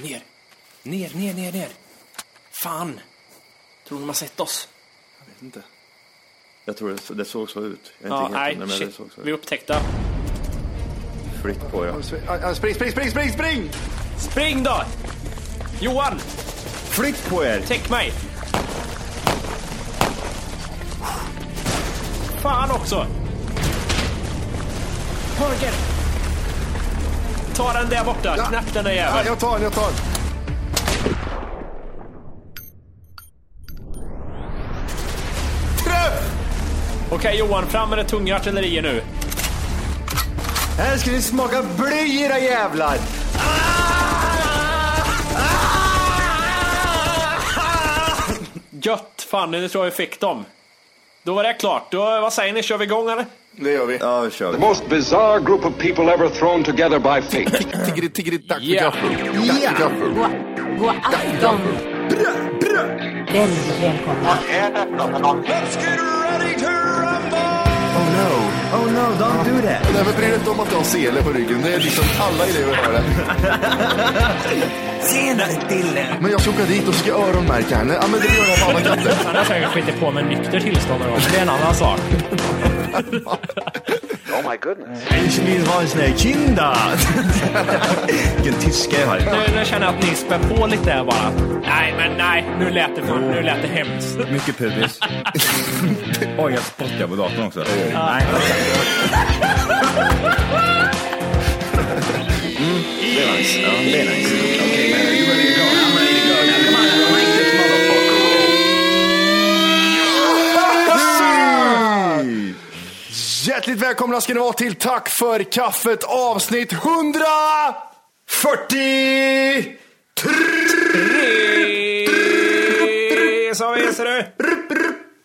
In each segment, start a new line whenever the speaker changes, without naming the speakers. Ner. Ner, ner, ner, ner. Fan! Tror de har sett oss?
Jag vet inte. Jag tror det, det såg så ut. Jag är
Ja,
inte helt
nej,
hundra, men det
shit.
såg så
Vi
ut.
upptäckta.
Flytt på ja.
Spring, spring, spring, spring, spring!
Spring då! Johan,
Flytt på er!
täck mig! Fan också! Höger! Ta den där borta, knack den där
Ja,
jäveln.
jag tar den, jag tar den. Träff!
Okej Johan, fram med det tunga artilleriet nu.
Här ska vi smaka bly era jävlar!
Gött! Fan, nu tror jag vi fick dem. Då var det klart. Då, vad säger ni, kör vi igång eller?
Det gör vi.
Ja, vi kör.
The most bizarre group of people ever thrown together by fate.
Tiggeri, tiggeri, tack för
Ja.
kaffet. Tack för kaffet.
God, god afton. Väldigt välkomna.
Oh no. Oh no, don't do that. Nej, men bry dig inte om att du har sele på ryggen. Det är liksom alla elever har det.
Tjenare Dille!
Men jag ska åka dit och ska öronmärka henne. Ja, men det gör jag på alla katter.
Han har säkert skitit på med nykter tillstånd någon gång, men det är en annan sak.
oh my goodness.
Ich vill vara en sån här kinda! Vilken tyska jag har.
Nu, nu känner jag att ni spär på lite här bara. Nej, men nej. Nu lät det, fan, nu lät det hemskt.
Mycket pubis. Oj, jag spottar på datorn också. Nej, det är nice. Ja, det är nice. Okej, man, are you ready to go? I'm ready to go. Now come on, now rank this motherfucker.
Hjärtligt välkomna ska ni vara till Tack för kaffet avsnitt 140!
Tre, sa vi, ser du.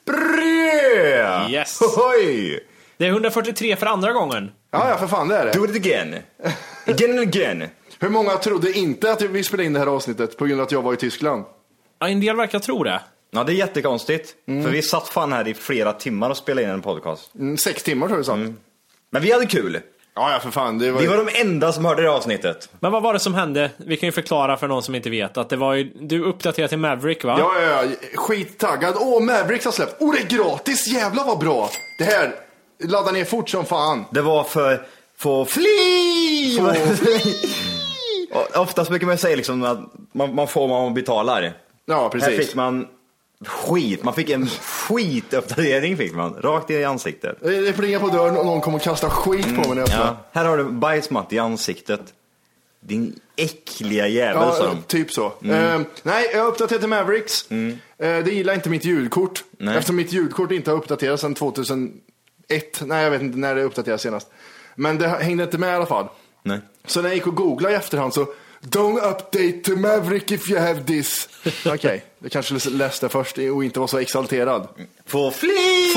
Tre!
Yes.
Hohoj!
Det är 143 för andra gången.
Ja, ja, för fan det är det.
Do it again. Again and again.
Hur många trodde inte att vi spelade in det här avsnittet på grund av att jag var i Tyskland?
Ja, en del verkar tro det.
Ja, det är jättekonstigt. För vi satt fan här i flera timmar och spelade in en podcast.
Mm, sex timmar tror jag vi satt.
Men vi hade kul.
Ja, ja, för fan. Det var...
Vi var de enda som hörde det här avsnittet.
Men vad var det som hände? Vi kan ju förklara för någon som inte vet att det var ju, du uppdaterade till Maverick va?
Ja, ja, ja. Skittaggad. Åh, Mavericks har släppt. Åh, det är gratis! Jävlar vad bra! Det här, ladda ner fort som fan.
Det var för... för fli!
För
Och Oftast brukar man säga liksom att man, man får vad man betalar.
Ja,
Här
precis.
fick man skit. Man fick en skituppdatering fick man. Rakt i ansiktet.
Det det plingar på dörren och någon kommer att kasta skit på mig när jag öppnar.
Ja. Här har du bajsmatt i ansiktet. Din äckliga jävel sa
Ja,
de. Mm.
typ så. Eh, nej, jag har uppdaterat till Mavericks. Eh, det gillar inte mitt ljudkort.
Nej.
Eftersom mitt ljudkort inte har uppdaterats sedan 2001. Nej, jag vet inte när det uppdaterades senast. Men det hängde inte med i alla fall.
Nej.
Så när jag gick och googlade i efterhand så Don't update to Maverick if you have this. Okej, jag kanske läste först och inte var så exalterad.
Få fli!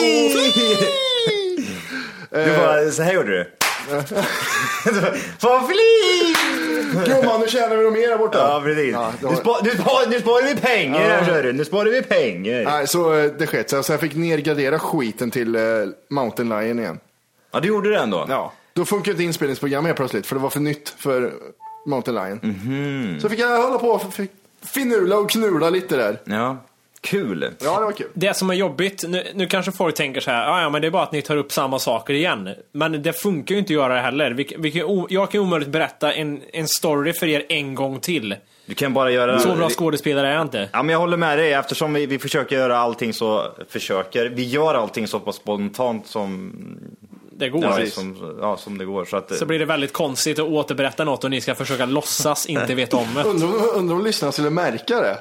Du bara, så här gjorde du. Få fli!
Gumman, nu tjänar vi nog mer här borta.
Ja, precis.
Ja, det
nu,
var-
spar, nu, spar, nu sparar vi pengar här, hör du. Nu sparar vi pengar.
Nej, så eh, det sket sig. Så jag fick nergradera skiten till eh, Mountain Lion igen.
Ja, du gjorde det ändå.
Ja. Då funkar inte inspelningsprogrammet helt plötsligt för det var för nytt för
Mhm.
Mountain Lion. Så fick jag hålla på och f- finurla och knula lite där.
Ja. Kul.
Ja, det var kul.
Det som är jobbigt, nu, nu kanske folk tänker så här, "Ah, ja men det är bara att ni tar upp samma saker igen. Men det funkar ju inte att göra det heller. Vi, vi kan, o- jag kan ju omöjligt berätta en, en story för er en gång till.
Du kan bara göra...
Så bra skådespelare är jag inte.
Ja, men jag håller med dig. Eftersom vi, vi försöker göra allting så... Försöker. Vi gör allting så pass spontant som,
Det går.
ja, som, ja, som det går. Så att,
Så blir det väldigt konstigt att återberätta något och ni ska försöka låtsas inte veta om det.
Undrar undra om lyssnarna skulle märka det.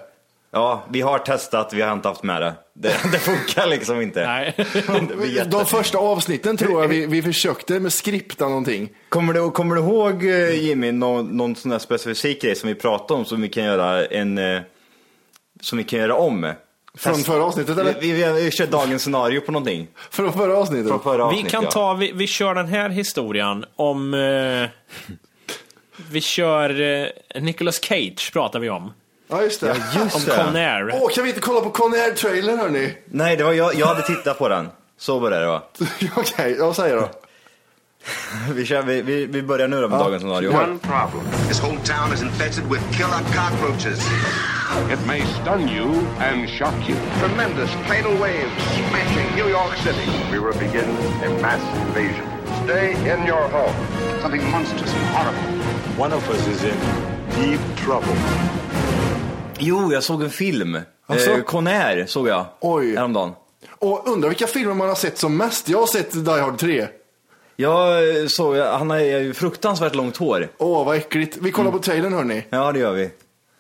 Ja, vi har testat, vi har inte haft med det. Det, det funkar liksom inte.
Nej.
Det blir jätte-
De första avsnitten tror jag vi, vi försökte med skripta någonting.
Kommer du, kommer du ihåg eh, Jimmy, någon, någon sån där specifik grej som vi pratade om som vi kan göra en... eh, Som vi kan göra om?
Från
Test-
förra avsnittet, eller?
Vi, vi, vi kör dagens scenario på någonting.
Från förra avsnittet.
Från förra
Vi
avsnittet,
kan
ja.
ta, vi, vi kör den här historien om... Eh, vi kör eh, Nicolas Cage pratar vi om.
Ja, just det.
Just
Om
det.
Con Air.
Åh, kan vi inte kolla på Conair trailern hörni?
Nej, det var jag, jag hade tittat på den. Så var det va?
Okej, jag säger då.
Vi, kör, vi, vi, vi börjar nu då med dagens scenario.
Ja.
problem. This whole town is infested with killer cockroaches.
It may stun you and shock you.
Tremendous tidal waves smashing New York City.
We will begin a mass invasion.
Stay in your home. Something monstrous and horrible.
One of us is in deep trouble.
Jo, jag såg en film.
Alltså?
Eh, Con Air såg jag.
Oj.
Häromdagen.
Och undrar vilka filmer man har sett som mest. Jag har sett Die Hard 3.
Jag eh, såg, han har ju fruktansvärt långt hår.
Åh, vad äckligt. Vi
Mm.
kollar på trailern hörni.
Ja, det gör vi.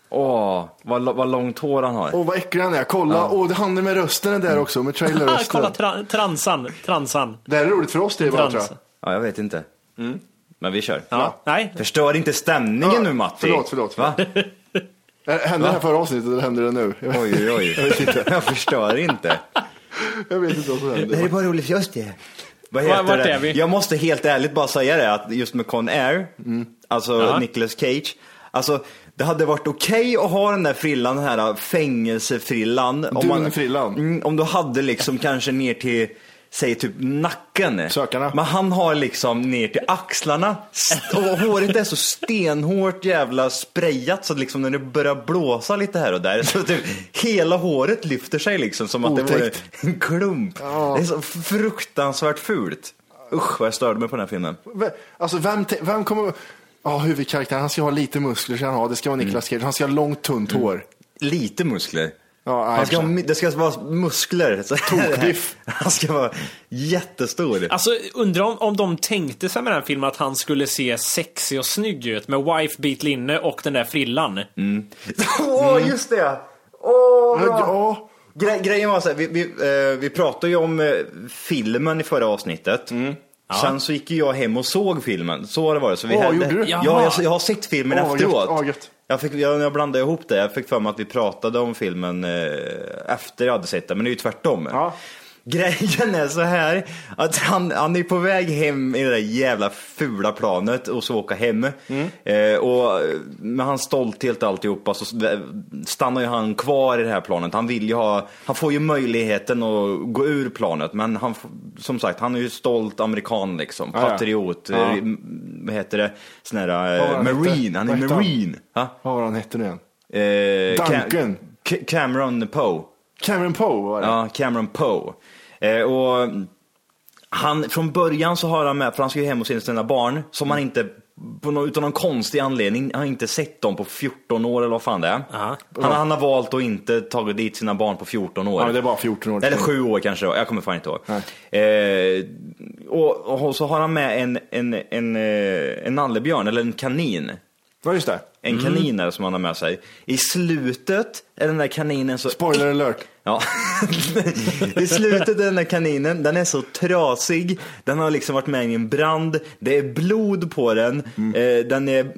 Åh, vad, vad långt hår han har.
Åh, vad äcklig han är. Kolla. Åh, det handlar med rösten är där
Mm.
också, med
Ah,
trailerrösten.
kolla tra- transan. Transan.
det här är roligt för oss det är bara, tror
Transan.
jag.
Ja, jag vet inte. Men vi kör.
Ja. Nej.
Förstör inte stämningen
Mm. Ja,
nu Matti.
förlåt, förlåt.
Va?
Eh, Hände det här förra avsnittet eller händer det nu? Jag vet,
Oj, oj, oj.
Jag vet inte.
Jag förstör inte.
jag vet inte vad som
Nej,
händer.
bara roligt för oss det. Vad heter
Vart
det?
är vi?
Jag måste helt ärligt bara säga det att just med Con Air, alltså
Ja.
Nicolas Cage, alltså det hade varit okej att ha den där frillan, den här fängelsefrillan.
Dunfrillan.
Mm, om du hade liksom kanske ner till, säg typ nacken.
Sökarna.
Men han har liksom ner till axlarna. St- Och håret är så stenhårt jävla sprayat så att liksom när det börjar blåsa lite här och där så typ hela håret lyfter sig liksom som att det vore
Otäckt.
en klump.
Ja.
Det är så fruktansvärt fult. Usch vad jag störde mig på den här filmen.
Ve- Alltså, vem, te- vem kommer... Ja, huvudkaraktären, han ska ha lite muskler, ska han ha. Det ska vara Niklas
Mm.
Cage. Han ska ha långt, tunt hår.
Lite muskler.
Ja, nej,
Han ska, ha
jag
mi- det ska vara muskler. Så-
Tokbiff.
Han ska vara jättestor.
Alltså, undrar om, om de tänkte sig med den här filmen att han skulle se sexig och snygg ut med wife beat linne och den där frillan.
Mm. Åh, just det! Åh,
Ja,
bra.
ja.
Gre- grejen var så här, vi, vi, eh, vi pratade ju om eh, filmen i förra avsnittet.
Mm.
Sen så gick ju jag hem och såg filmen. Så har det varit. Så vi
Åh,
hade...
gjorde du?
Ja, jag, jag har sett filmen
Åh, gött.
efteråt.
Åh, gött.
jag, fick, jag, jag blandade ihop det. Jag fick för mig att vi pratade om filmen eh, efter jag hade sett den, men det är ju tvärtom.
Ja.
Grejen är så här att han, han är på väg hem i det där jävla fula planet och så åka hem.
Mm.
Eh, och med hans stolthet och alltihopa så eh, stannar ju han kvar i det här planet. Han vill ju ha, han får ju möjligheten att gå ur planet men han, f- som sagt han är ju stolt amerikan liksom.
Ja, ja.
Patriot,
Ja.
eh, m- vad heter det, sån här
Vad
eh,
var han
marine,
hette?
han är
Vad hette han?
marine. Ha?
Vad var han hette nu igen?
Eh, Cam-
Duncan.
Ca- Cameron Poe.
Cameron Poe var det.
Ja, Cameron Poe. Eh, och han, från början så har han med, för han ska ju hem och se sina barn, som han inte, på någon, utan någon konstig anledning, har inte sett dem på 14 år eller vad fan det är.
Ja.
Han, han har valt att inte tagit dit sina barn på 14 år.
Ja, men det är bara 14 år.
Eller 7 år kanske det var, jag kommer fan inte ihåg. Eh, och, och så har han med en, en, en, eh, en nallebjörn, eller en kanin.
Ja, just det.
En kanin är det som han har med sig. I slutet är den där kaninen så
Spoiler alert.
Ja. I slutet av den här kaninen, den är så trasig. Den har liksom varit med i en brand. Det är blod på den. Eh, den är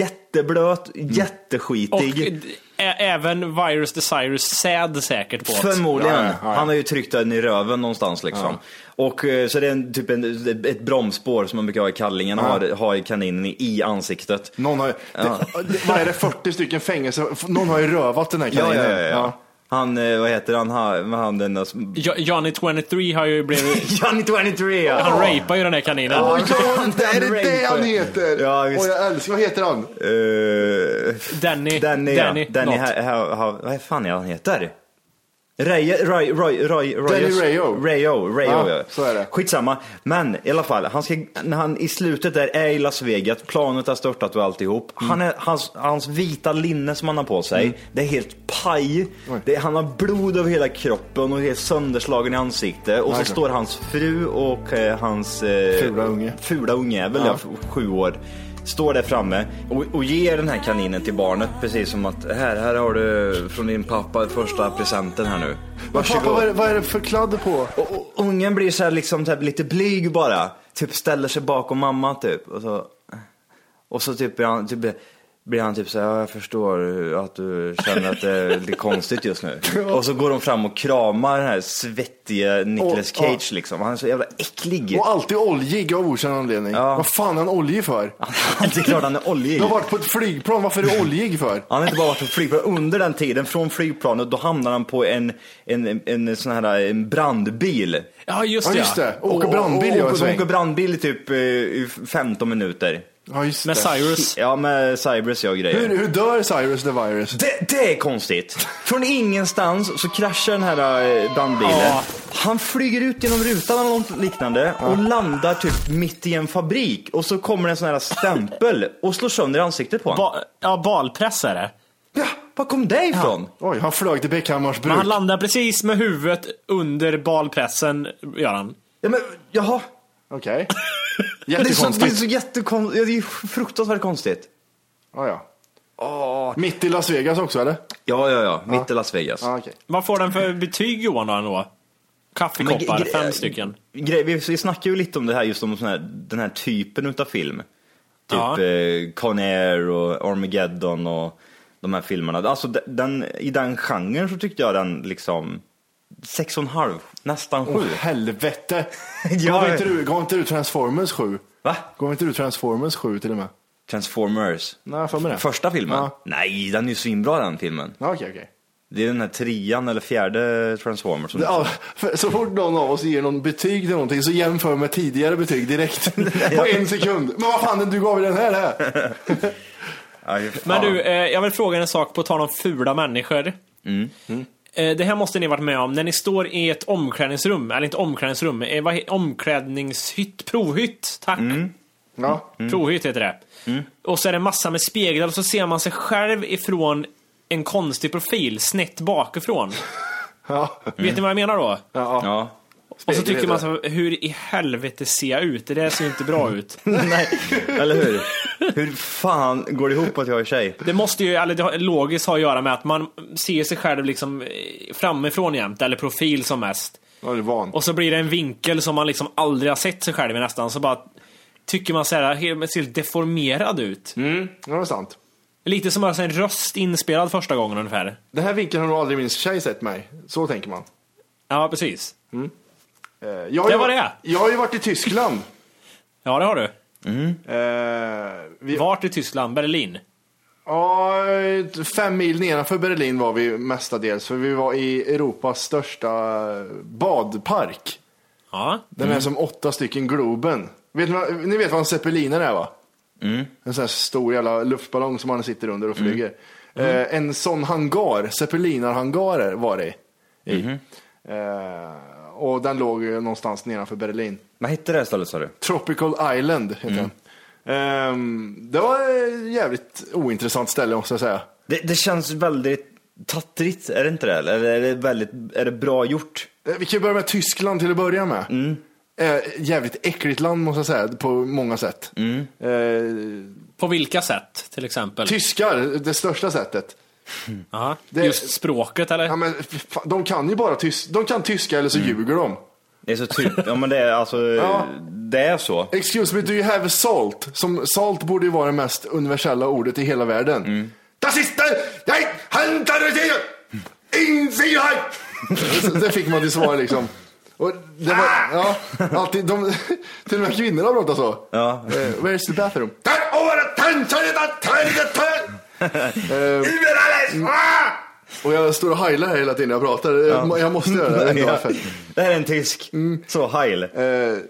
jätteblöt,
Och
jätteskitig.
d- ä- även Virus Desirous säd säkert på att...
Förmodligen.
Ja, ja, ja.
Han har ju tryckt den i röven någonstans liksom. Och eh, så det är en, typ en, ett bromsspår som man brukar ha i kallingen, har, har i kaninen i- i ansiktet.
Någon har, det, det, vad är det, 40 stycken fängelse? F- Någon har ju rövat den här
Ja,
kaninen.
ja, ja. ja. Han, eh, vad heter han, han, han den där som...
Jo- Johnny 23 har ju blivit...
Johnny 23! ja.
Han rapar ju den här kaninen.
Åh, ja, det är
Den
det det han
rape.
heter?
Ja,
Åh,
visst.
jag älskar, vad heter han?
Eh,
Danny.
Danny,
Danny,
ja. Danny
något.
ha, ha, ha, vad fan är han heter? Ray, Ray, Ray, Ray,
Danny Rayo.
Rayo, Rayo
Ja,
ja.
så är det.
Skitsamma. Men i alla fall, han ska, när han i slutet där är i Las Vegas, planet har störtat och alltihop.
Mm.
Han är, hans, hans vita linne som han har på sig, det är helt paj. Det, han har blod över hela kroppen och är helt sönderslagen i ansiktet. Och så
Nej, klart.
står hans fru och eh, hans... Eh,
Fula unge.
Fula ungjävel, ja.
Ja.
f- sju år. Står där framme och, och ger den här kaninen till barnet precis som att här, här har du från din pappa första presenten här nu.
Men pappa,
Varsågod.
vad är, det- vad är det för kladd på?
Och, och ungen blir så här liksom så här lite blyg bara. Typ ställer sig bakom mamma typ. Och så, och så typ, blir han, typ blir han typ så här, "Ja, jag förstår att du känner att det är lite konstigt just nu. Och så går de fram och kramar den här svettiga Nicolas
Och- ja.
Cage liksom. Han är så jävla äcklig.
Och alltid oljig av okänd anledning.
Ja.
Vad fan är han oljig för?
Det är klart han är
Du
oljig.
har varit på ett flygplan, varför är du oljig för?
Han har inte bara varit på flygplan. Under den tiden, från flygplanet, då hamnar han på en, en, en, en sån här en brandbil.
Ja, just
Ja
det.
just
ja.
det, åker brandbil gör en
Åker,
sväng.
åker brandbil i typ eh, i 15 minuter.
Ja just
Med
det.
Cyrus.
Ja, med Cybers och grejer.
Hur, hur dör Cyrus the virus?
Det, det är konstigt. Från ingenstans så kraschar den här eh, brandbilen.
Ja.
Han flyger ut genom rutan eller något liknande och landar typ mitt i en fabrik. Och så kommer en sån här stämpel och slår sönder ansiktet på honom.
Ba ja, balpress är det.
Ja, var kom det ifrån?
Oj, han flög till Bäckhammars bruk.
Men han landar precis med huvudet under balpressen, gör han.
Ja, men, jaha.
Okej.
Det är, så, det är
Jättekonstigt.
så jättekonstigt. Ja, det är fruktansvärt konstigt.
Ja, ja. Mitt i Las Vegas också eller?
Ja, ja, ja. Mitt i Las Vegas.
Ja, okej.
Vad får den för betyg Johan då ändå? Kaffekoppar,
Men gre-
fem stycken.
Grej, vi, vi snackar ju lite om det här just om sån här, den här typen utav film. Typ
Ja.
eh, Con Air och Armageddon och de här filmerna. Alltså de- den, i den genren så tyckte jag den liksom sex och en halv, nästan sju.
Åh helvete.
Ja.
Gav inte du, gav inte du Transformers 7?
Va?
Gav inte du Transformers 7 till och med?
Transformers.
Nej, jag har för mig det.
Första filmen?
Ja.
Nej, den är ju svinbra den filmen.
Ja, Okej, okej.
Det är den här trean eller fjärde Transformers. Som
Ja, för- så fort någon av oss ger någon betyg till någonting så jämför med tidigare betyg direkt. På en sekund. Men vad fan, du gav ju den här här.
Aj,
Men
fan.
du, eh, jag vill fråga en sak på tal om fula människor.
Mm.
Mm.
Eh, det här måste ni varit med om. När ni står i ett omklädningsrum, eller inte omklädningsrum, eh, vad he- omklädningshytt, provhytt, tack.
Mm,
Ja.
Provhytt heter det. Och så är det massa med speglar och så ser man sig själv ifrån en konstig profil, snett bakifrån.
Ja.
Mm.
Vet ni vad jag menar då?
Ja.
Ja.
Och så
Spegel
tycker man
heter
så här, alltså, hur i helvete ser jag ut? Det där ser ju inte bra ut.
Nej, eller hur? Hur fan går det ihop att jag är tjej?
Det måste ju, eller det har, logiskt har att göra med att man ser sig själv liksom eh, framifrån jämt, eller profil som mest.
Ja, du är van.
Och så blir det en vinkel som man liksom aldrig har sett sig själv i nästan, så bara tycker man så här, helt, ser helt deformerad ut.
Ja, det är sant.
Lite som alltså en röst inspelad första gången ungefär.
Den här vinkeln har nog aldrig min tjej sett mig. Så tänker man.
Ja, precis.
Eh, Jag har
Det
ju-
var det.
Jag har ju varit i Tyskland.
Ja, det har du.
Eh, vi,
Vart i Tyskland? Berlin?
ja, fem mil nedanför Berlin var vi mestadels, för vi var i Europas största badpark.
Ja.
Den här som åtta stycken Globen. Vet ni, vad- ni vet vad en zeppelinare är va? En sån här stor jävla luftballong som man sitter under och flyger. Eh, en sån hangar, zeppelinarhangarer var det i. Eh, och den låg ju någonstans nedanför Berlin.
Vad hette det här stället sa du?
Tropical Island heter den. Ehm, det var ett jävligt ointressant ställe måste jag säga.
Det, det känns väldigt tattrigt, är det inte det? Eller är det, väldigt, är det bra gjort?
Eh, Vi kan ju börja med Tyskland till att börja med. Eh, jävligt äckligt land måste jag säga på många sätt. Eh,
På vilka sätt, till exempel?
tyskar, det största sättet.
Aha.
Det- Mm.
Just språket, eller?
Ja, men, fan, de kan ju bara tys- de kan tyska eller så
Mm.
ljuger de.
Det är så typ, ja men det är alltså,
Ja. Mm.
det är så.
Excuse me, do you have salt? Som salt borde ju vara det mest universella ordet i hela världen.
Mm.
Das ist der, jag handlar det in Sicherheit! Det fick man till svar liksom. Och det var,
Ah!
ja, alltid, de, till och med kvinnorna pratar så.
Ja.
Eh, where's the bathroom? Där over attention, attention, attention! Och jag står och heilar här hela tiden jag pratar.
Ja.
Jag måste göra det. ändå,
Ja.
för- Mm.
Det här är en tysk. Så, heil.
Eh,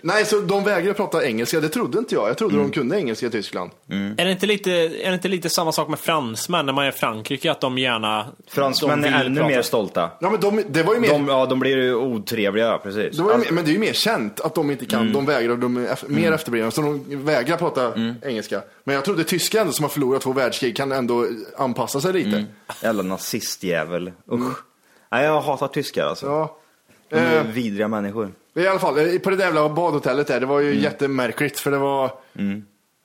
nej, så de vägrar prata engelska. Det trodde inte jag. Jag trodde
Mm.
de kunde engelska i Tyskland.
Är, det inte lite, är det inte lite samma sak med fransmän när man är i Frankrike? Att de gärna...
Fransmän
de
är
vill
ännu
prata.
mer stolta.
Ja, men de, det var ju mer...
De, ja, de blir ju otrevliga, precis.
det var
Alltså-
ju,
Mm.
mer- men det är ju mer känt att de inte kan, de vägrar, de är eff- mer efterblivna, så de vägrar prata
Mm.
engelska. Men jag trodde tyskar ändå som har förlorat två världskrig kan ändå anpassa sig
Mm.
lite.
Jävla nazistjävel. Usch. Nej, jag hatar tyskar alltså.
Mm. Ja.
De är
Eh.
vidriga människor.
I alla fall, eh, på det där jävla badhotellet där, det var
Mm.
ju jättemärkligt för det var...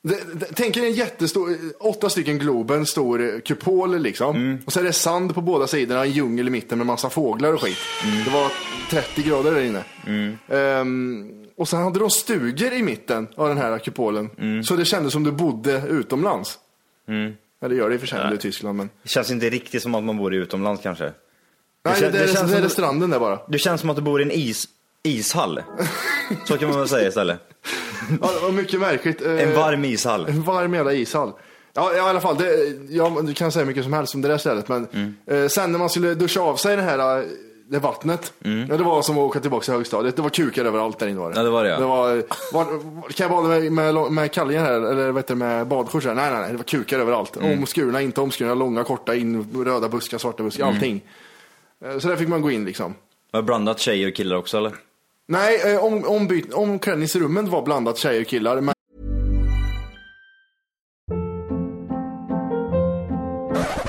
Det, det, tänk er en jättestor, eh, åtta stycken Globen, stor eh, kupol liksom.
Mm.
Och så är det sand på båda sidorna, en djungel i mitten med massa fåglar och skit.
Mm.
Det var 30 grader där inne. Ehm, och sen hade de stugor i mitten av den här kupolen.
Mm.
Så det kändes som du bodde utomlands. Eller gör det i och för sig om du är i Tyskland men.
Det känns inte riktigt som att man bor i utomlands kanske.
Nej, det,
kän-
det,
det
är-
känns
det,
som-
är stranden där bara.
Du känns som att du bor i en is, ishall. Så kan man väl säga istället.
Ja, det var mycket märkligt. Eh,
En varm ishall.
En varm jävla ishall. Ja, i alla fall, det, jag du kan säga mycket som helst om det där stället. Men
Mm.
eh, sen när man skulle duscha av sig det här eh, det vattnet. Ja, det var som att åka tillbaka till högstadiet. Det var kukar överallt där inne var det.
Mm. Ja, det var det, ja.
det var, var, kan jag bada med, med, med kallingar här? Eller vet du, med badskjorts här? Nej, nej, nej. Det var kukar överallt.
Mm.
Omskurna, inte omskurna, långa, korta, in, röda buskar, svarta buskar,
Mm.
allting. Eh, Så där fick man gå in liksom.
Har du blandat tjejer och killar också eller?
Nej, eh, om, ombyt, omklädningsrummen var blandat tjejer och killar. Men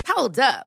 Hold up.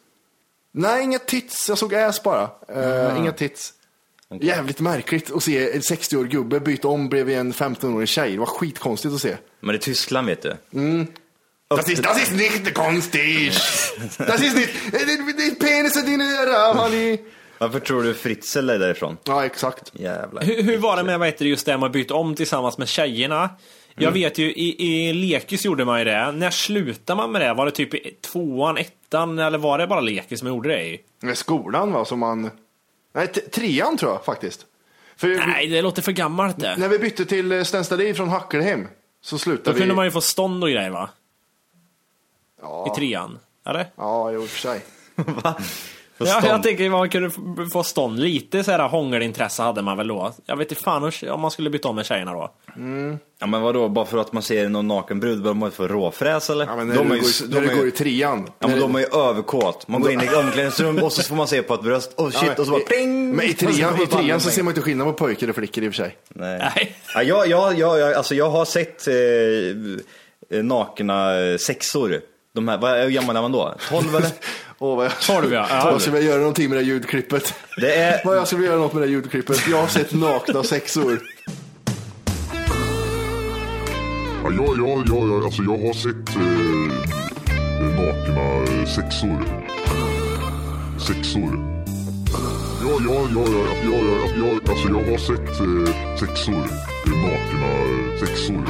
Nej, inga tits. Jag såg ass bara. Eh,
Mm.
Inga tits. Jävligt märkligt att se en 60-årig gubbe byta om bredvid en 15-årig tjej. Det var skitkonstigt att se.
Men det är Tyskland vet du.
Mm. Das ist, das ist nicht konstigt. Das ist nicht... eh, Din din penis är din öra, honey.
Varför tror du Fritzl är därifrån?
Ja, exakt.
Jävlar.
Hur, hur var det med vad heter det, just det här med att byta om tillsammans med tjejerna? Jag vet ju, i, i lekis gjorde man ju det. När slutade man med det? Var det typ i tvåan, ettan eller var det bara lekis som gjorde det i?
Det är skolan va, som man... Nej, t- trean tror jag faktiskt. För
Nej, det låter för gammalt det.
när vi bytte till eh, Stenstadin från Hackelhem så
Då
slutade vi...
kunde man ju få stånd och grejer va?
Ja.
I trean? Eller?
Ja, jo, i och för sig.
Få
Ja, jag
stånd.
tänker man kunde f- få stånd. Lite så här hångelintresse hade man väl då. Jag vet inte fan hur- om man skulle byta om med tjejerna då.
Ja men vadå, bara för att man ser någon naken brud behöver man inte få råfräs eller?
Ja, men när du,
är ju-
går, i- när
de
du
är ju-
går i trean.
Ja men de är ju överkåt. Man går in i ett omklädningsrum och så får man se på ett bröst, oh
Ja,
shit,
men
och så bara
i-
pling!
Men i
Och så kommer
trean, i
bara
trean så
en
ser man inte skillnad på pojkar och flickor i och för sig.
Nej. Ja, jag, jag, jag, jag, alltså jag har sett eh, eh, nakna eh, sexor. De här, vad, hur gammal är man då? 12 eller?
Åh, vad jag,
12 ja. ja.
Vad skulle jag göra någonting med det här ljudklippet?
Det är,
Vad jag skulle göra något med det här ljudklippet? Jag har sett nakna sexor.
Ja, jag, jag, jag, jag, alltså jag har sett eh, nakna eh, sexor. Sexor. Ja, ja, ja, ja, ja, ja, ja, ja, alltså jag har sett eh, sexor. Eh, Nakna eh, sexor.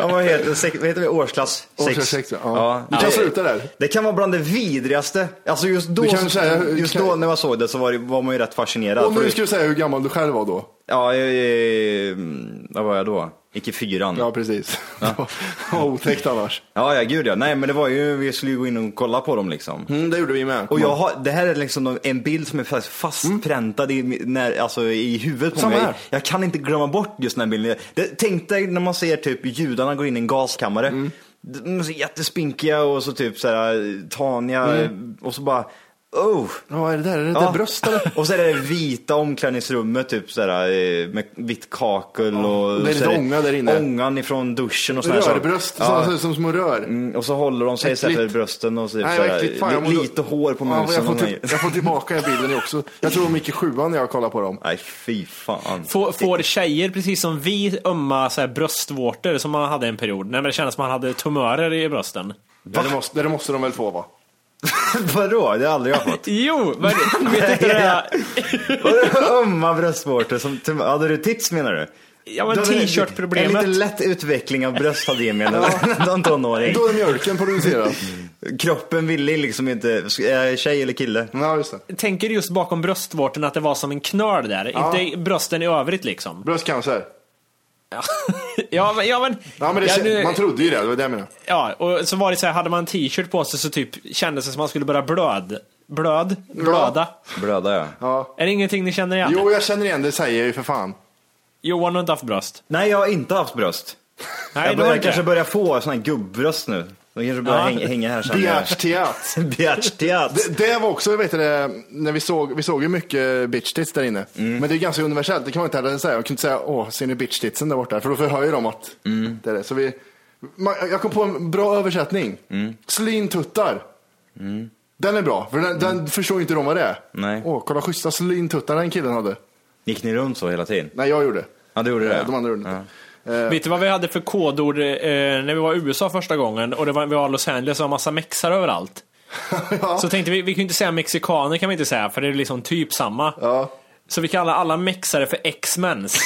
ja, vad heter, sex, vad heter det? Årsklass
Årsklass sex, ja. Du kan
det-
sluta där.
Det kan vara bland det vidrigaste. Alltså just då,
Du kan säga-
just
kan-
då när man såg det så var, det, var man ju rätt fascinerad.
Och
För
nu
det-
ska du säga hur gammal du själv var då.
Ja, jag, jag, vad var jag då? Gick i fyran.
Ja, precis. Vad otäckt annars.
Ja, ja, gud ja. Nej, men det var ju, vi skulle ju gå in och kolla på dem liksom.
Mm, det gjorde vi med.
Och jag har, det här är liksom en bild som är fast- fastpräntad i, mi- när, alltså, i huvudet på
Samma
mig.
här.
Jag
Mm.
kan inte glömma bort just den här bilden. Det, tänk dig när man ser typ judarna gå in i en gaskammare. de är så jättespinkiga och så typ så här taniga
Mm.
och så bara Oh!
Ja, vad är det där? Är det där bröst eller?
Och så är det det vita omklädningsrummet typ så här, eh, med vitt kakel och...
och det
så
är lite
här-
ånga där inne.
Ångan ifrån duschen och sådär.
Rörbröst, sådana som ser ut som små rör.
Mm, och så håller de sig så här för
Äckligt.
brösten och så, typ
Nej,
så
vad
här,
äckligt. Fan, jag
li-
mår-
lite hår på
Ja, men
musen.
jag, får
och
till,
grejer.
jag får tillbaka den bilden också. Jag tror de gick i sjuan när jag kollade på dem.
Nej, fy fan.
Får, får tjejer, precis som vi, ömma så här, bröstvårtor som man hade en period? Nej, men det kändes som man hade tumörer i brösten.
Det, måste, det måste de väl få va?
Vadå? Det har aldrig jag fått.
Jo, men vet du inte det där?
Vadå ömma bröstvårtor? Som, tum- hade du tits menar du?
Ja, men
Då hade-
t-shirt-problemet.
En lite lätt utveckling av bröst hade jag menar. Någon tonåring.
Då är mjölken producerad.
Kroppen ville liksom inte, eh, tjej eller kille?
Ja, just det.
Tänker du just bakom bröstvårtorna att det var som en knöl där?
Ja.
Inte brösten i övrigt liksom?
Bröstcancer.
Ja, men... Ja, men,
Ja, men det,
Ja,
kän-
nu-
Man trodde ju det, det var det jag menade.
Ja, och så var det så här, hade man en t-shirt på sig så typ kändes det som att man skulle börja blöd. Blöd? Blöda?
Blöda ja.
Ja.
Är det ingenting ni känner igen?
Jo, jag känner igen det, säger jag ju för fan.
Johan har inte haft bröst.
Nej, jag har inte haft bröst.
Nej,
jag
det var
börjar,
inte
kanske
det.
börjar få såna här gubbröst nu. De kanske börjar
Ja.
hänga, hänga här sen.
Bjärtstiat.
Bjärtstiat.
Det, det var också, vet du, det, när vi såg, vi såg ju mycket bitch tits där inne. Men det är ganska universellt, det kan man inte heller säga. Jag kunde inte säga, åh, ser ni bitch titsen där borta? För då förhör ju de att det är det. Så vi, man, jag kom på en bra översättning. Mm. Slintuttar. Den är bra, för den, den förstår inte de vad det är.
Nej.
Åh, kolla schyssta slintuttar den killen hade.
Gick ni runt så hela tiden?
Nej, jag gjorde.
Ja, du gjorde det?
Eh, De andra gjorde inte. Eh,
Vet du vad vi hade för kodord eh, när vi var i USA första gången och det var, vi var i Los Angeles och en massa mexar överallt? Så tänkte vi, vi kan ju inte säga mexikaner kan vi inte säga för det är liksom typ samma.
Ja.
Så vi kallar alla mexare för X-mens.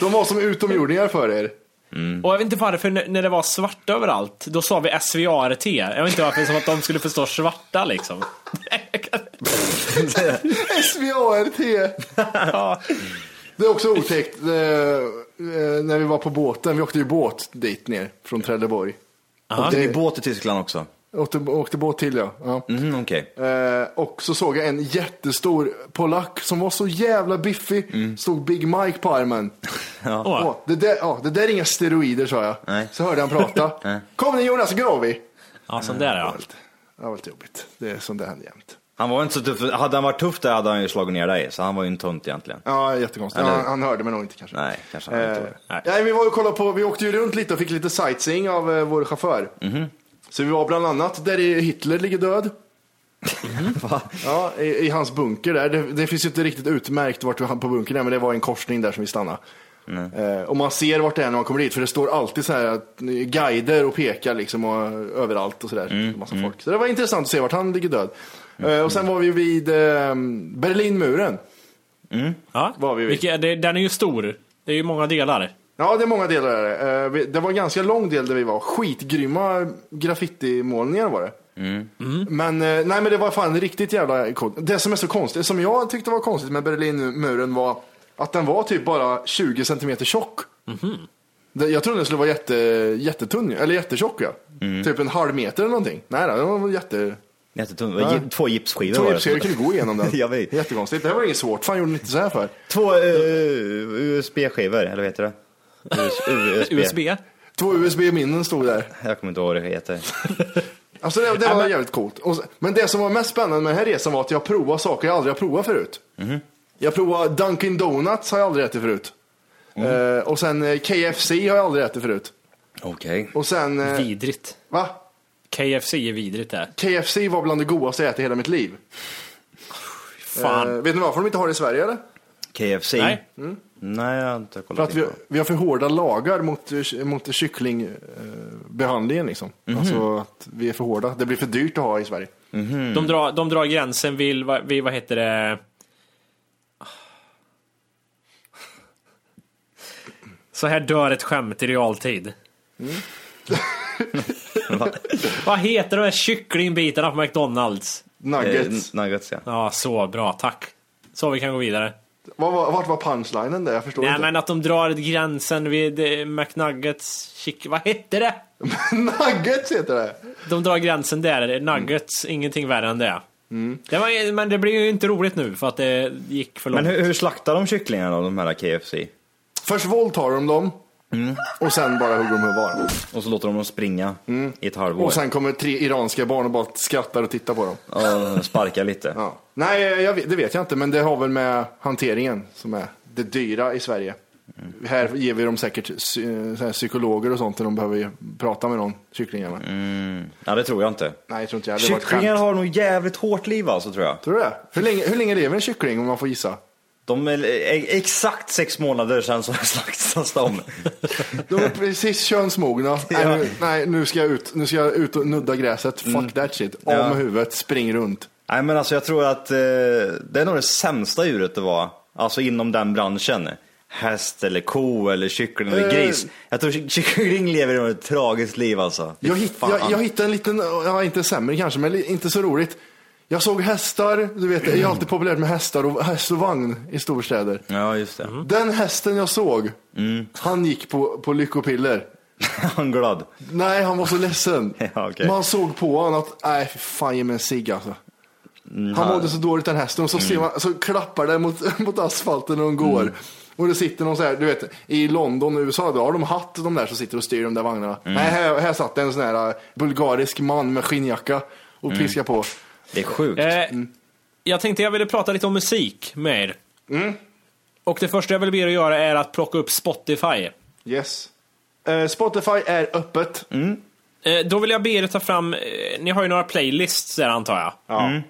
De var som utomjordingar för er.
Och jag vet inte varför, när när det var svarta överallt, då sa vi SVART. Jag vet inte varför, som att de skulle förstå svarta liksom.
SVART. Det är också otäckt eh, eh, när vi var på båten. Vi åkte ju båt dit ner från Trelleborg.
Aha.
Åkte-
Åkte ni båt i Tyskland också?
Åkte, åkte båt till ja. ja.
Mhm, okej.
Eh, och så såg jag en jättestor polack som var så jävla biffig. Stod Big Mike på armen.
Mm. Ja.
Åh, det, där, ja, det där är inga steroider sa jag.
Nej.
Så hörde han prata. Kom nu Jonas, så går vi.
Ja, sån där ja.
Det var lite jobbigt. Det är sånt där händer jämt.
Han var inte så tuff. Hade han varit tuff där hade han ju slagit ner dig, så han var ju en tunt egentligen.
Ja, jättekonstigt.
Eller-
Han, han hörde mig nog inte kanske.
Nej, kanske han inte
Eh,
var.
Nej.
nej, vi, var och kollade på, vi åkte ju runt lite och fick lite sightseeing av eh, vår chaufför.
Mhm.
Så vi var bland annat där i Hitler ligger död. ja, i, I hans bunker där. Det, det finns ju inte riktigt utmärkt vart vi hann på bunkern är, men det var en korsning där som vi stannade. Eh, och man ser vart det är när man kommer dit, för det står alltid så här att, eh, guider och pekar liksom och, överallt och sådär.
Mm,
Massa folk. Så det var intressant att se vart han ligger död. Eh, och sen var vi vid eh, Berlinmuren.
ja.
Var vi vid.
Vilka, det, den är ju stor. Det är ju många delar.
Ja, det är många delar där. Eh, vi- Det var en ganska lång del där vi var. Skitgrymma graffitimålningar var det.
Mm.
Men, eh, nej, men det var fan riktigt jävla coolt. Det som är så konstigt, som jag tyckte var konstigt med Berlinmuren var att den var typ bara 20 centimeter tjock. Det- Jag trodde den skulle vara jätte, jättetunn, eller jättetjock ja.
Mm.
Typ en halv meter eller någonting. Nej, nej, den var jätte...
Jättetunt.
Ja.
Gi- Två gipsskivor
Två
var det.
gipsskivor kunde gå igenom den.
jag vet.
Jättekonstigt. Det här var inget svårt. Fan gjorde ni inte så här för?
Två eh, USB-skivor, eller vad heter det? US- USB.
USB.
Två USB-minnen stod där.
Jag kommer inte ihåg vad det heter.
Alltså det, det var jävligt coolt. Och, så- men det som var mest spännande med den här resan var att jag provade saker jag aldrig har provat förut.
Mhm.
Jag provade Dunkin' Donuts har jag aldrig ätit förut.
Mhm.
Eh, och sen eh, KFC har jag aldrig ätit förut.
Okej.
Och sen, eh,
Vidrigt.
va?
KFC är vidrigt det.
KFC var bland det godaste jag ätit i hela mitt liv.
Fan.
Eh, vet ni varför de inte har det i Sverige eller?
KFC?
Nej.
Nej, jag har inte kollat
Mm. För att
in
vi,
på det.
vi har för hårda lagar mot, eh, mot kycklingbehandlingen liksom.
Mhm.
Alltså att vi är för hårda. Det blir för dyrt att ha i
Eh,
Sverige.
De, drar, de drar gränsen vid, vad- vid, vad heter det? Så här dör ett skämt i realtid. vad heter de här kycklingbitarna på McDonalds?
Nuggets.
Eh, nuggets ja.
Ja, så bra, tack. Så vi kan gå vidare.
Vad var- Vart var punchlinen där? Jag förstår
Nej
inte.
men att de drar gränsen vid eh, McNuggets chick... Vad hette det?
Nuggets heter det.
De drar gränsen där, nuggets, ingenting värre än det. det var, men det blir ju inte roligt nu för att det gick för långt.
Men hur, hur slaktar de kycklingarna då, de här KFC?
Först våldtar de dem.
Mm.
Och sen bara hugger de huvudet av varandra.
Och så låter de dem springa i ett halvår.
Mm. Och sen kommer tre iranska barn och bara skrattar och tittar på dem.
Ja, sparka lite.
Nej, jag, vet- det vet jag inte, men det har väl med hanteringen som är det dyra i Sverige.
Mm.
Här ger vi dem säkert psy- så här psykologer och sånt när de behöver ju prata med någon, kycklingarna.
Mm. Ja, det tror jag inte.
Nej, jag tror inte jag hade varit
Kycklingar
skämt.
har nog jävligt hårt liv alltså tror jag.
Tror du det? Hur länge, hur länge lever en kyckling om man får gissa?
De är eh, exakt sex månader sedan så slaktas de.
De är precis könsmogna. Nej, nu, nej, nu ska jag ut, nu ska jag ut och nudda gräset. Fuck that shit. Av
Mm. Ja.
med huvudet, spring runt.
Nej men alltså jag tror att eh, det är nog det sämsta djuret det var. Alltså inom den branschen. Häst eller ko eller kyckling eller
Eh.
gris. Jag tror ky- kyckling lever ett tragiskt liv alltså. Fy
Jag, hitt,
fan.
jag, jag hittade en liten, ja, inte sämre kanske, men li- inte så roligt. Jag såg hästar, du vet, det är ju alltid populärt med hästar och häst och vagn i storstäder.
Ja just det.
Den hästen jag såg,
Mm.
han gick på, på lyckopiller.
Han glad?
Nej, han var så ledsen.
Ja, okej.
Man såg på honom att, nej fy fan ge mig en cigg alltså. Han mådde så dåligt den hästen och så,
Mm.
ser man, så klappar den mot, mot asfalten när de går. Och det sitter någon så här, du vet i London och USA då har de hatt de där som sitter och styr de där vagnarna.
Mm.
Nej, här, här satt en sån här äh, bulgarisk man med skinnjacka och
Mm.
piskade på.
Det är sjukt.
Eh.
Eh,
Mm.
Jag tänkte jag ville prata lite om musik med er.
Mm.
Och det första jag vill be er att göra är att plocka upp Spotify.
Yes. Eh, Spotify är öppet.
Mm.
Eh, Då vill jag be er ta fram, eh, ni har ju några playlists där antar jag.
Ja. Mm.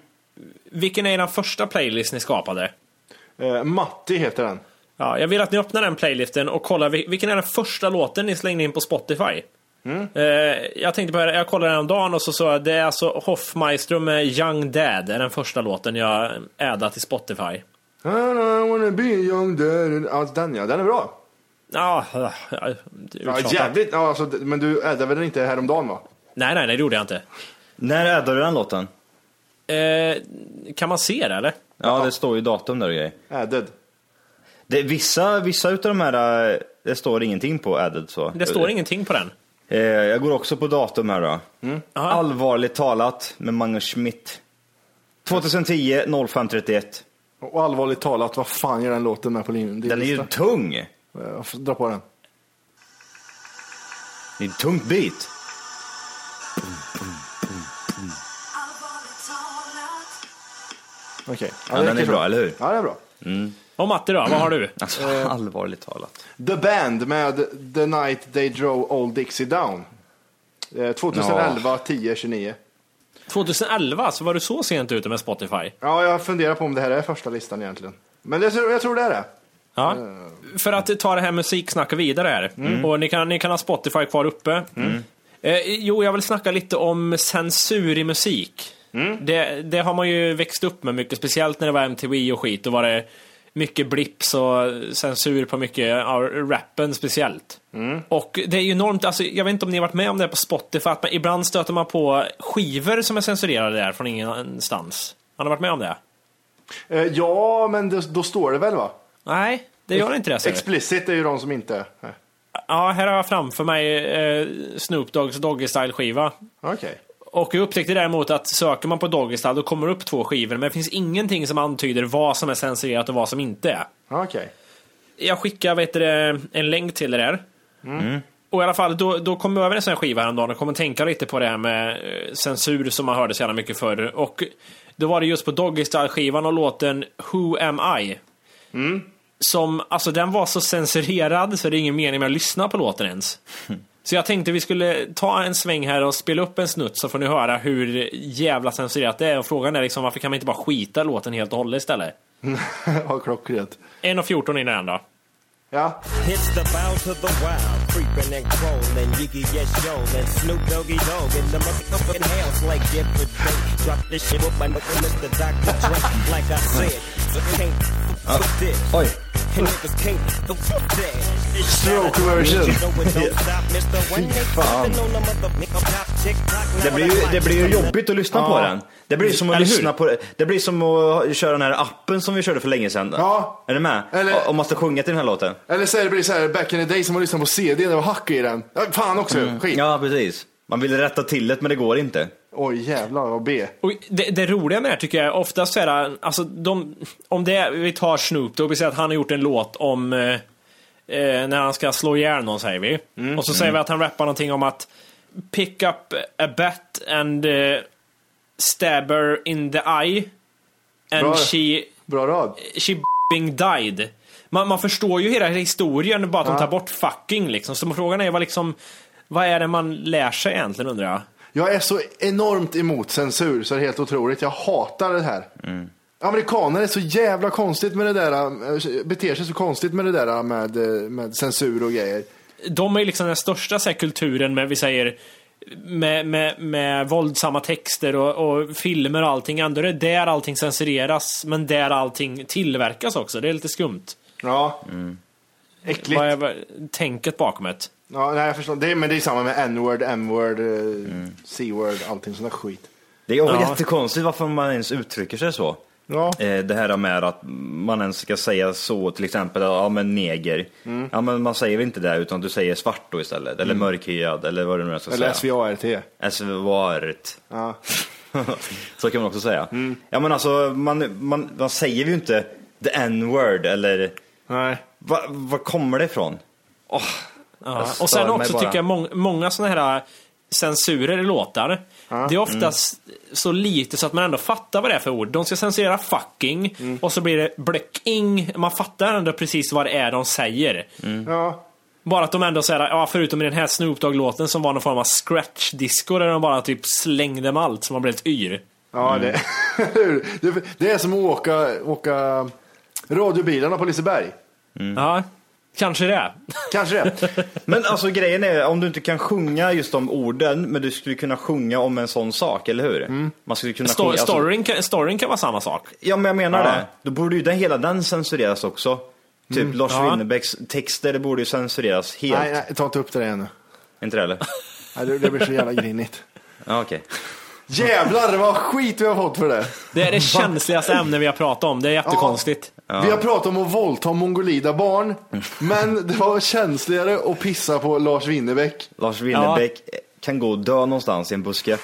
Vilken är den första playlist ni skapade?
Eh, Matti heter den.
Ja, jag vill att ni öppnar den playlisten och kollar vil- vilken är den första låten ni slängde in på Spotify.
Mm.
Eh, jag tänkte på det, jag kollade häromdagen och så sa jag det är alltså Hoffmeister med Young Dad är den första låten jag ädat till Spotify.
I don't wanna be young dad. Ja, Alltså, den ja, den är bra.
Ja, ja, ja, det är
Ja,
uttjatat.
jävligt. Ja, alltså, d- men du ädde väl den inte häromdagen va?
Nej, nej, nej, det gjorde jag inte.
När ädade du den låten?
Eh, kan man se det eller?
Ja, det står ju datum där och grejer.
Added.
Det, vissa, vissa utav de här, eh, det står ingenting på added så.
Det står ingenting på den.
Eh, jag går också på datum här då. Allvarligt talat med Magnus Schmidt. 2010 0531.
Och allvarligt talat, vad fan gör den låten med på linjen?
Den är ju tung.
Jag får dra på den.
Det är en tung bit.
Okej.
Ja, den är
räcker så.
bra, eller hur?
Ja, det är bra.
Mm.
Och Matti då, vad har du?
Alltså,
Eh.
allvarligt talat.
The Band med The Night They Drove Old Dixie Down. Eh, 2011, 10, 29.
2011, så var du så sent ute med Spotify?
Ja, jag funderar på om det här är första listan egentligen. Men det, jag tror det är det.
Ja. För att ta det här musiksnacket vidare här.
Mm.
Och ni kan, ni kan ha Spotify kvar uppe. Eh, jo, jag vill snacka lite om censur i musik. Det, det har man ju växt upp med mycket, speciellt när det var MTV och skit. Då var det mycket blips och censur på mycket av rappen speciellt. Och det är ju enormt, alltså, jag vet inte om ni har varit med om det här på Spotify, att man, ibland stöter man på skivor som är censurerade där från ingenstans. Har ni varit med om det?
Eh, ja, men det, då står det väl va?
Nej, det gör inte det. ser du.
Explicit är ju de som inte... eh.
Ja, här har jag framför mig eh, Snoop Doggs Doggy Style-skiva.
Okej.
Och jag upptäckte däremot att söker man på Doggy Style då kommer det upp två skivor, men det finns ingenting som antyder vad som är censurerat och vad som inte är.
Okej.
Jag skickar vet du, det, en länk till er här.
Mm.
Och i alla fall, då, då kom jag över en sån här skiva häromdagen och kom att tänka lite på det här med eh, censur som man hörde så jävla mycket förr. Och då var det just på Doggy Style-skivan och låten Who Am I?
Mm.
Som, alltså den var så censurerad så det är ingen mening med att lyssna på låten ens. Så jag tänkte vi skulle ta en sväng här och spela upp en snutt så får ni höra hur jävla censurerat det är. Och frågan är liksom varför kan man inte bara skita i låten helt och hållet istället?
ja, klockrent.
1.14 in i den då.
Ja.
It's the bounce of the wild, creeping and crawling, Yiggy yes yo, and Snoop Doggy Dogg in the motherfucking house like Jeffrey Drake. Drop this shit with my nigga Mr. Dr. Drake, like I said, so can't
Ja.
fuck this.
Oj.
And niggas can't the fuck that. It's
Stroke version.
You know it don't
Yeah.
stop, Mr. Wayne.
Fy fan.
Sipping on the motherfucking pop, tick tock,
Det
now
blir, ju,
I
det
like
blir
it.
ju jobbigt att lyssna på
Ja.
den. Det blir som att
Eller hur?
lyssna på Det blir som att köra den här appen som vi körde för länge sedan.
Ja.
Är du med?
Eller-
Om man ska sjunga till den här låten.
Eller så är det blir så här, back in the day som man lyssnade på CD, det var hack i den. Ja, Fan också,
Mm.
skit.
Ja, precis. Man vill rätta till det, men det går inte.
Oj jävlar vad B.
Och det, det roliga med det här tycker jag är oftast så här, alltså de, om det, är- vi tar Snoop Dogg, vi säger att han har gjort en låt om eh, eh, när han ska slå ihjäl någon säger vi.
Mm.
Och så säger vi att han rappar någonting om att pick up a bat and eh, stab her in the eye. And
Bra.
she...
Bra rad.
She b***ing died. Man, man förstår ju hela historien bara att
Ja.
de tar bort fucking liksom. Så frågan är vad liksom... Vad är det man lär sig egentligen undrar jag?
Jag är så enormt emot censur så det är helt otroligt. Jag hatar det här.
Mm.
Amerikaner är så jävla konstigt med det där, eh, beter sig så konstigt med det där med, eh, med censur och grejer.
De är ju liksom den största så här, kulturen med, vi säger, med, med, med våldsamma texter och, och filmer och allting. Ändå är det där allting censureras, men där allting tillverkas också. Det är lite skumt.
Ja.
Mm.
Äckligt.
Vad är vad- tänket bakom det?
Ja, nej, jag förstår. Det är, men det är samma med n-word, m-word, eh,
Mm.
c-word, allting sån där skit.
Det är också
Ja.
jättekonstigt varför man ens uttrycker sig så.
Ja.
Eh, Det här med att man ens ska säga så, till exempel, ja men neger.
Mm.
Ja men man säger väl inte det, utan du säger svart då istället, eller
Mm.
mörkhyad, eller vad du nu ska
Eller
säga.
svart.
Svart.
Ja. Mm.
så kan man också säga. Ja men alltså, man, man, man säger ju inte the n-word, eller...
Nej.
Va, vad kommer det ifrån? Åh,
Ja.
jag stör
Och sen
mig
också
bara.
tycker jag mång- många sådana här censurer i låtar. Det är oftast så lite så att man ändå fattar vad det är för ord. De ska censurera fucking och så blir det bläcking. Man fattar ändå precis vad det är de säger.
Mm.
Ja.
Bara att de ändå säger, ja förutom i den här Snoop Dogg-låten som var någon form av scratch-disco där de bara typ slängde med allt så man blev ett yr.
Ja, det, det, det är som att åka, åka radiobilarna på Liseberg.
Ja, kanske det.
Kanske det.
Men alltså grejen är, om du inte kan sjunga just om orden, men du skulle kunna sjunga om en sån sak, eller hur?
Mm.
Man skulle kunna
Sto-
sjunga, alltså-
storyn, kan, storyn kan vara samma sak.
Ja, men jag menar
Ja.
det. Då borde ju den, hela den censureras också. Typ
Mm.
Lars
Ja.
Winnerbäcks texter, det borde ju censureras helt.
Nej, nej, ta inte upp det där igen nu.
Inte det eller?
Nej, det, det blir så jävla grinigt.
Ja, okej.
Jävlar vad skit vi har fått för det.
Det är det känsligaste ämne vi har pratat om. Det är jättekonstigt.
Vi har pratat om att våldta mongolida barn, men det var känsligare att pissa på Lars Winnerbäck.
Lars Winnerbäck kan gå och dö någonstans i en buske.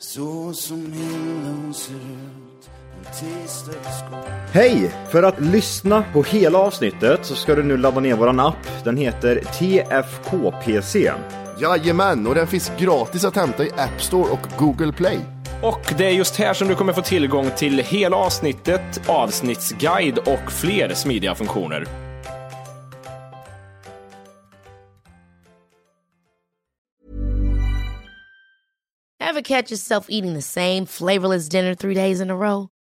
Så som himlen ser ut en tisdagskväll
Hej! För att lyssna på hela avsnittet så ska du nu ladda ner våran app. Den heter TFKPC.
Jajamän, och den finns gratis att hämta i App Store och Google Play.
Och det är just här som du kommer få tillgång till hela avsnittet, avsnittsguide och fler smidiga funktioner.
Ever catch yourself eating the same flavorless dinner three days in a row?